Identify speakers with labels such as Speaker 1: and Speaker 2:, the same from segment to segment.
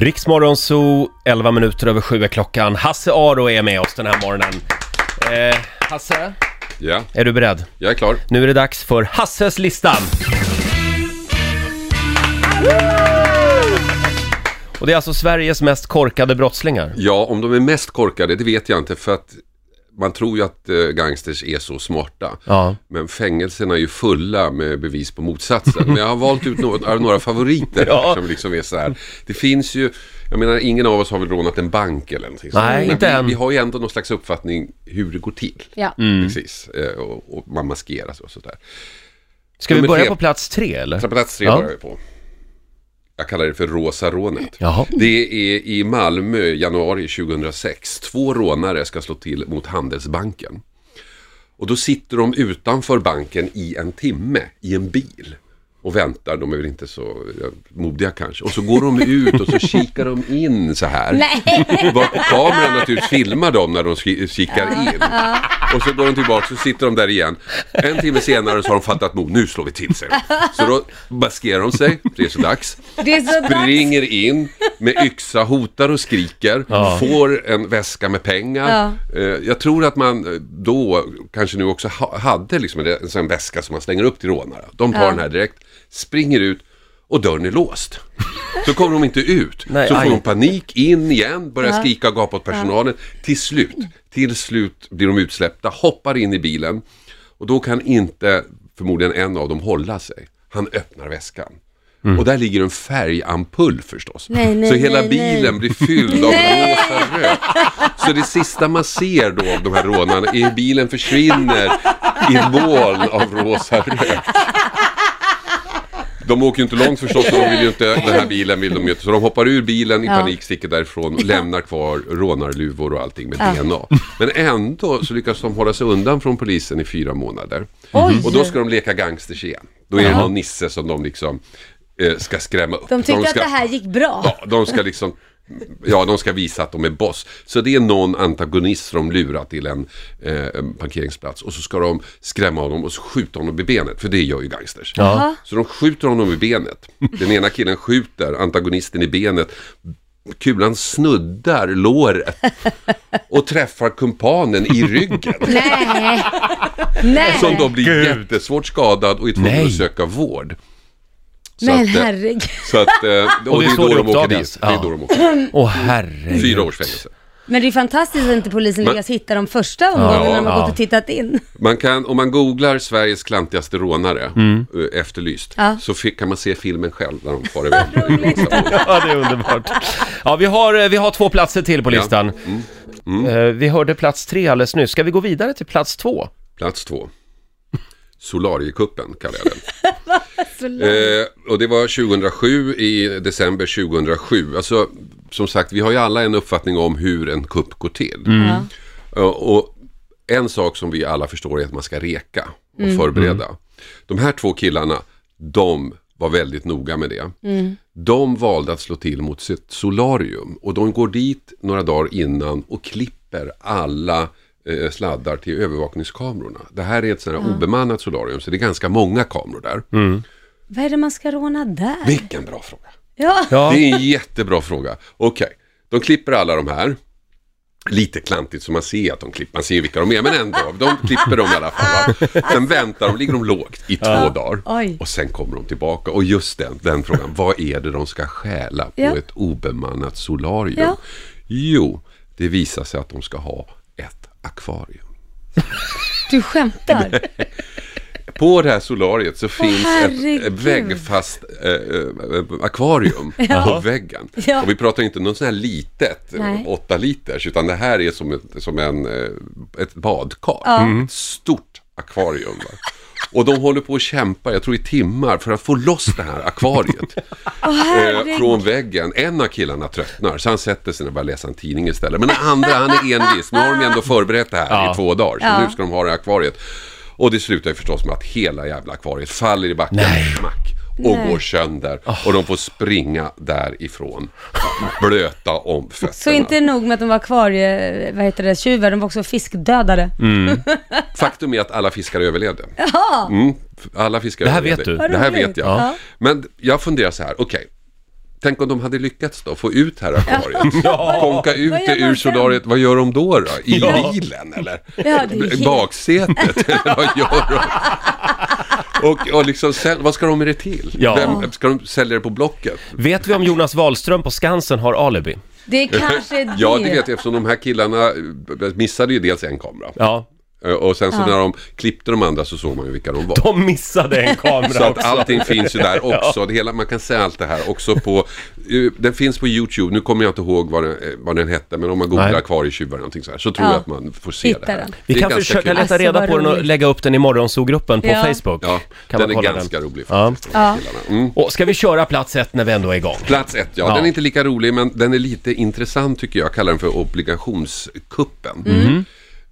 Speaker 1: Riksmorgon Zoo, 11 minuter över sju är klockan. Hasse Aro är med oss den här morgonen. Eh, Hasse,
Speaker 2: Ja,
Speaker 1: är du beredd?
Speaker 2: jag är klar.
Speaker 1: Nu är det dags för Hasses listan. Och det är alltså Sveriges mest korkade brottslingar.
Speaker 2: Ja, om de är mest korkade, det vet jag inte för att man tror ju att eh, gangsters är så smarta.
Speaker 1: Ja.
Speaker 2: Men fängelserna är ju fulla med bevis på motsatsen. Men jag har valt ut något, av några favoriter
Speaker 1: Ja.
Speaker 2: som liksom är så här. Det finns ju, jag menar ingen av oss har väl rånat en bank eller någonting sånt.
Speaker 1: Nej,
Speaker 2: Men
Speaker 1: inte
Speaker 2: vi,
Speaker 1: än. Mm.
Speaker 2: Vi har ju ändå någon slags uppfattning hur det går till.
Speaker 3: Ja.
Speaker 2: Precis, Eh, och, och man maskeras och sådär.
Speaker 1: Ska vi
Speaker 2: Nummer
Speaker 1: börja
Speaker 2: tre.
Speaker 1: på plats tre eller?
Speaker 2: Så på plats tre
Speaker 1: Ja.
Speaker 2: börjar vi på. Jag kallar det för Rosa rånet.
Speaker 1: Jaha.
Speaker 2: Det är i Malmö i januari 2006. Två rånare ska slå till mot Handelsbanken. Och då sitter de utanför banken i en timme i en bil. Och väntar, de är väl inte så ja, modiga kanske. Och så går de ut och så kikar de in så här.
Speaker 3: Nej!
Speaker 2: Varpå kameran naturligtvis filmar dem när de ski- kikar in. Och så går de tillbaka så sitter de där igen. En timme senare så har de fattat mod, nu slår vi till sig. Så då maskerar de sig, det är så dags.
Speaker 3: Det är så dags.
Speaker 2: Ringer in med yxa, hotar och skriker.
Speaker 1: Ja.
Speaker 2: Får en väska med pengar. Eh, Jag tror att man eh, då, kanske nu också, ha- hade liksom en en sån väska som man slänger upp till rånare. De tar den här direkt, springer ut och dörren är låst. Så kommer de inte ut.
Speaker 1: Nej,
Speaker 2: så får
Speaker 1: aj.
Speaker 2: de panik, in igen, börjar skrika och gapa åt personalen. Till slut, till slut blir de utsläppta, hoppar in i bilen. Och då kan inte förmodligen en av dem hålla sig. Han öppnar väskan. Och där ligger en färgampull förstås.
Speaker 3: Nej, nej,
Speaker 2: så hela
Speaker 3: nej,
Speaker 2: bilen
Speaker 3: nej.
Speaker 2: blir fylld av rosa rök. Så det sista man ser då av de här rånarna är hur bilen försvinner i ett moln av rosa rök. De åker ju inte långt förstås, de vill ju inte, den här bilen vill de ju inte. Så de hoppar ur bilen i
Speaker 3: Ja.
Speaker 2: panik, sticker därifrån och lämnar kvar rånarluvor och allting med DNA. Men ändå så lyckas de hålla sig undan från polisen i fyra månader.
Speaker 3: Oj.
Speaker 2: Och då ska de leka gangsters igen. Då är det någon nisse som de liksom eh, ska skrämma upp.
Speaker 3: De tyckte
Speaker 2: ska,
Speaker 3: att det här gick bra.
Speaker 2: Ja, de ska liksom... Ja, de ska visa att de är boss. Så det är någon antagonist som de lurar till en, eh, en parkeringsplats. Och så ska de skrämma honom och så skjuta honom i benet. För det gör ju gangsters.
Speaker 1: Ja.
Speaker 2: Så de skjuter honom i benet. Den ena killen skjuter antagonisten i benet. Kulan snuddar låret och träffar kumpanen i ryggen.
Speaker 3: Nej! Nej!
Speaker 2: Som då blir
Speaker 1: Gud.
Speaker 2: jättesvårt skadad och är tvungen
Speaker 1: Nej.
Speaker 2: att söka vård. Så
Speaker 3: Men
Speaker 2: att, eh,
Speaker 3: herregud.
Speaker 2: så att, eh, och,
Speaker 1: Och det
Speaker 2: det
Speaker 1: är
Speaker 2: är
Speaker 1: så
Speaker 2: då
Speaker 1: det
Speaker 2: de åker
Speaker 1: uppdagas.
Speaker 2: dit. Det är
Speaker 1: Ja.
Speaker 2: då de åker. dit.
Speaker 1: Åh herregud.
Speaker 2: Fyra års fängelse.
Speaker 3: Men det är fantastiskt att inte polisen
Speaker 2: Men-
Speaker 3: lyckas hitta de första omgångarna när de har
Speaker 1: Ja.
Speaker 3: gått och tittat in.
Speaker 2: Man kan, om man googlar Sveriges klantigaste rånare, eh, efterlyst,
Speaker 3: Ja.
Speaker 2: så fi- kan man se filmen själv när de far iväg. Det är roligt.
Speaker 1: Ja, det är underbart. Ja, vi har, eh, vi har två platser till på listan.
Speaker 2: Mm.
Speaker 1: Eh, Vi hörde plats tre alldeles nyss. Ska vi gå vidare till plats två?
Speaker 2: Plats två. Solariekuppen kallar jag den. Eh, och det var 2007 i december 2007. Alltså, som sagt, vi har ju alla en uppfattning om hur en kupp går till.
Speaker 3: Ja.
Speaker 2: Eh, Och en sak som vi alla förstår är att man ska reka och förbereda. De här två killarna, de var väldigt noga med det. De valde att slå till mot sitt solarium och de går dit några dagar innan och klipper alla eh, sladdar till övervakningskamerorna. Det här är ett sånt här obemannat solarium så det är ganska många kameror där.
Speaker 3: Vad är det man ska råna där?
Speaker 2: Vilken bra fråga!
Speaker 3: Ja,
Speaker 1: Ja.
Speaker 2: Det är en jättebra fråga. Okej, de klipper alla de här. Lite klantigt så man ser att de klipper, man ser vilka de är, men ändå. De klipper dem i alla fall. va? Sen väntar de, ligger de lågt i två dagar.
Speaker 3: Oj.
Speaker 2: Och sen kommer de tillbaka. Och just den, den frågan, vad är det de ska stjäla på
Speaker 3: Ja.
Speaker 2: ett obemannat solarium?
Speaker 3: Ja.
Speaker 2: Jo, det visar sig att de ska ha ett akvarium.
Speaker 3: du skämtar.
Speaker 2: På det här solariet så finns ett
Speaker 3: herregud.
Speaker 2: väggfast eh, eh, akvarium på väggen.
Speaker 3: Ja.
Speaker 2: Och vi pratar inte om något sånt här litet, eh,
Speaker 3: Nej.
Speaker 2: åtta liters, utan det här är som, ett, som en, eh, ett badkar. Mm. Ett stort akvarium. Va? Och de håller på att kämpa, jag tror i timmar, för att få loss det här akvariet eh, från väggen. En av killarna tröttnar, så han sätter sig ner och börjar läsa en tidning istället. Men den andra, han är envis. Nu har de ju ändå förberett det här
Speaker 1: Ja.
Speaker 2: i två dagar, så
Speaker 3: Ja.
Speaker 2: nu ska de ha det här akvariet. Och det slutar ju förstås med att hela jävla akvariet faller i backen, smack, och går sönder. Och de får springa därifrån, blöta om fötterna.
Speaker 3: Så inte nog med att de var akvarie, vad heter det, tjuvar, de var också fiskdödare.
Speaker 2: Mm. Faktum är att alla fiskar överlevde. Mm, alla fiskar
Speaker 1: Det här
Speaker 2: överlevde.
Speaker 1: vet du?
Speaker 3: Vad
Speaker 2: Det här
Speaker 3: roligt.
Speaker 2: vet jag.
Speaker 3: Ja.
Speaker 2: Men jag funderar så här, okej. Tänk om de hade lyckats då, få ut här akvariet.
Speaker 1: Ja.
Speaker 2: Konka ut
Speaker 3: Vad gör
Speaker 2: det
Speaker 3: man
Speaker 2: ur
Speaker 3: sen?
Speaker 2: solariet. Vad gör de då? då? I
Speaker 1: Ja.
Speaker 2: bilen eller?
Speaker 3: Ja, det är helt...
Speaker 2: Baksätet? eller vad gör de? Och, och liksom, säl- vad ska de med det till?
Speaker 1: Ja.
Speaker 2: Vem, ska de sälja det på Blocket?
Speaker 1: Vet vi om Jonas Wahlström på Skansen har alibi?
Speaker 3: Det är kanske det.
Speaker 2: Ja, det vet jag eftersom de här killarna eh, missade ju dels en kamera.
Speaker 1: Ja.
Speaker 2: Eh, Och sen så när de klippte de andra så såg man ju vilka de var.
Speaker 1: De missade en kamera
Speaker 2: Så att
Speaker 1: också.
Speaker 2: allting finns ju där också. Det hela, man kan se allt det här också på... eh, Den finns på YouTube. Nu kommer jag inte ihåg vad den, eh, vad den hette, men om man
Speaker 1: Nej.
Speaker 2: googlar akvarietjuvar eller någonting så här så tror
Speaker 3: Ja.
Speaker 2: jag att man får se
Speaker 3: Hittar
Speaker 2: det här.
Speaker 3: den.
Speaker 1: Vi
Speaker 2: Det är
Speaker 1: kan
Speaker 2: ganska
Speaker 1: försöka
Speaker 2: kul.
Speaker 1: leta
Speaker 3: Alltså,
Speaker 1: reda
Speaker 3: vad
Speaker 1: på den och
Speaker 3: roligt.
Speaker 1: lägga upp den i morgonsogruppen på
Speaker 3: Ja.
Speaker 1: Facebook.
Speaker 2: Ja,
Speaker 1: Kan man
Speaker 2: den är
Speaker 1: kolla
Speaker 2: ganska rolig
Speaker 1: Ja.
Speaker 2: faktiskt. de här killarna. Mm.
Speaker 1: Och ska vi köra plats ett när vi ändå är igång?
Speaker 2: Plats ett, ja.
Speaker 1: Ja.
Speaker 2: Den är inte lika rolig, men den är lite intressant tycker jag. Jag kallar den för obligationskuppen.
Speaker 1: Mm.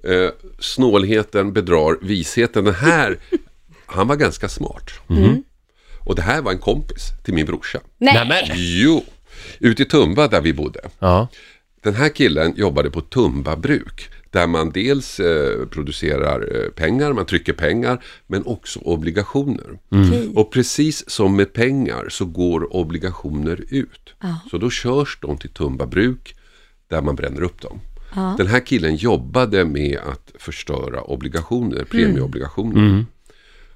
Speaker 2: Eh, snålheten bedrar visheten. Den här, han var ganska smart.
Speaker 1: Mm.
Speaker 2: Och det här var en kompis till min brorsa.
Speaker 3: Nej,
Speaker 1: men.
Speaker 2: Jo, ute i Tumba där vi bodde.
Speaker 1: Ja.
Speaker 2: Den här killen jobbade på Tumba bruk där man dels eh, producerar eh, pengar, man trycker pengar, men också obligationer. Och precis som med pengar så går obligationer ut. Så då körs de till Tumba bruk där man bränner upp dem. Den här killen jobbade med att förstöra obligationer, premieobligationer.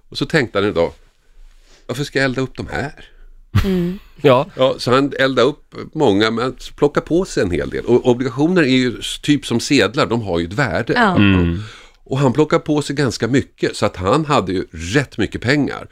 Speaker 2: Och så tänkte han idag, varför ska jag elda upp de här?
Speaker 1: Ja.
Speaker 2: Ja, så han eldade upp många, men plockade på sig en hel del. Och obligationer är ju typ som sedlar, de har ju ett värde.
Speaker 3: Ja.
Speaker 2: Och han plockade på sig ganska mycket, så att han hade ju rätt mycket pengar.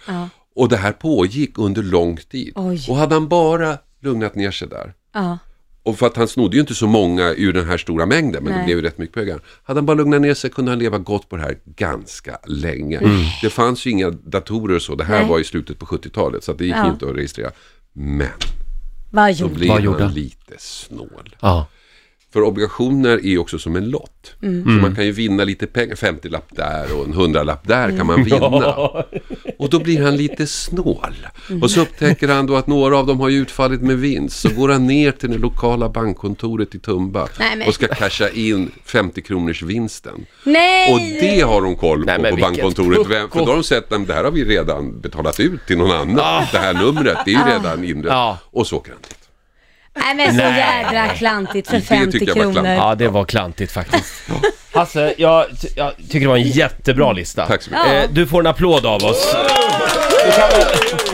Speaker 2: Och det här pågick under lång tid.
Speaker 3: Oj.
Speaker 2: Och hade han bara lugnat ner sig där,
Speaker 3: ja.
Speaker 2: och för att han snodde ju inte så många ur den här stora mängden, men det
Speaker 3: Nej.
Speaker 2: blev ju rätt mycket pengar. Hade han bara lugnat ner sig kunde han leva gott på det här ganska länge. Det fanns ju inga datorer och så, det här
Speaker 3: Mm. Nej.
Speaker 2: var i slutet på 70-talet, så att det gick
Speaker 3: Ja.
Speaker 2: inte att registrera. Men
Speaker 3: Vad
Speaker 2: då
Speaker 3: gjorde
Speaker 2: blir
Speaker 1: Mm. Vad
Speaker 2: man
Speaker 1: gjorde han?
Speaker 2: lite snål.
Speaker 1: Ja.
Speaker 2: För obligationer är ju också som en lott.
Speaker 1: Mm.
Speaker 2: Så man kan ju vinna lite pengar, 50-lapp där och en 100-lapp där kan
Speaker 1: Mm.
Speaker 2: man vinna. Och då blir han lite snål.
Speaker 1: Mm.
Speaker 2: Och så upptäcker han då att några av dem har ju utfallit med vinst. Så går han ner till det lokala bankkontoret i Tumba
Speaker 3: Nej, men-
Speaker 2: och ska casha in 50 kronors vinsten.
Speaker 3: Nej!
Speaker 2: Och det har de koll på
Speaker 1: Nej, men
Speaker 2: på
Speaker 1: vilket
Speaker 2: bankkontoret. Vem- För
Speaker 1: pucko.
Speaker 2: då har de sett att det här har vi redan betalat ut till någon annan.
Speaker 1: Ah.
Speaker 2: Det här numret, det är ju redan inrätt.
Speaker 1: Ja.
Speaker 2: Och så åker han dit.
Speaker 3: Nej men så
Speaker 1: Nej.
Speaker 3: jädra klantigt för
Speaker 2: Det
Speaker 3: 50
Speaker 2: tycker jag var
Speaker 3: kronor.
Speaker 2: klantigt.
Speaker 1: Ja, det var klantigt faktiskt. Hasse, jag, ty- jag tycker det var en jättebra lista.
Speaker 2: Tack så mycket.
Speaker 1: Eh, du får en applåd av oss. Du kan väl-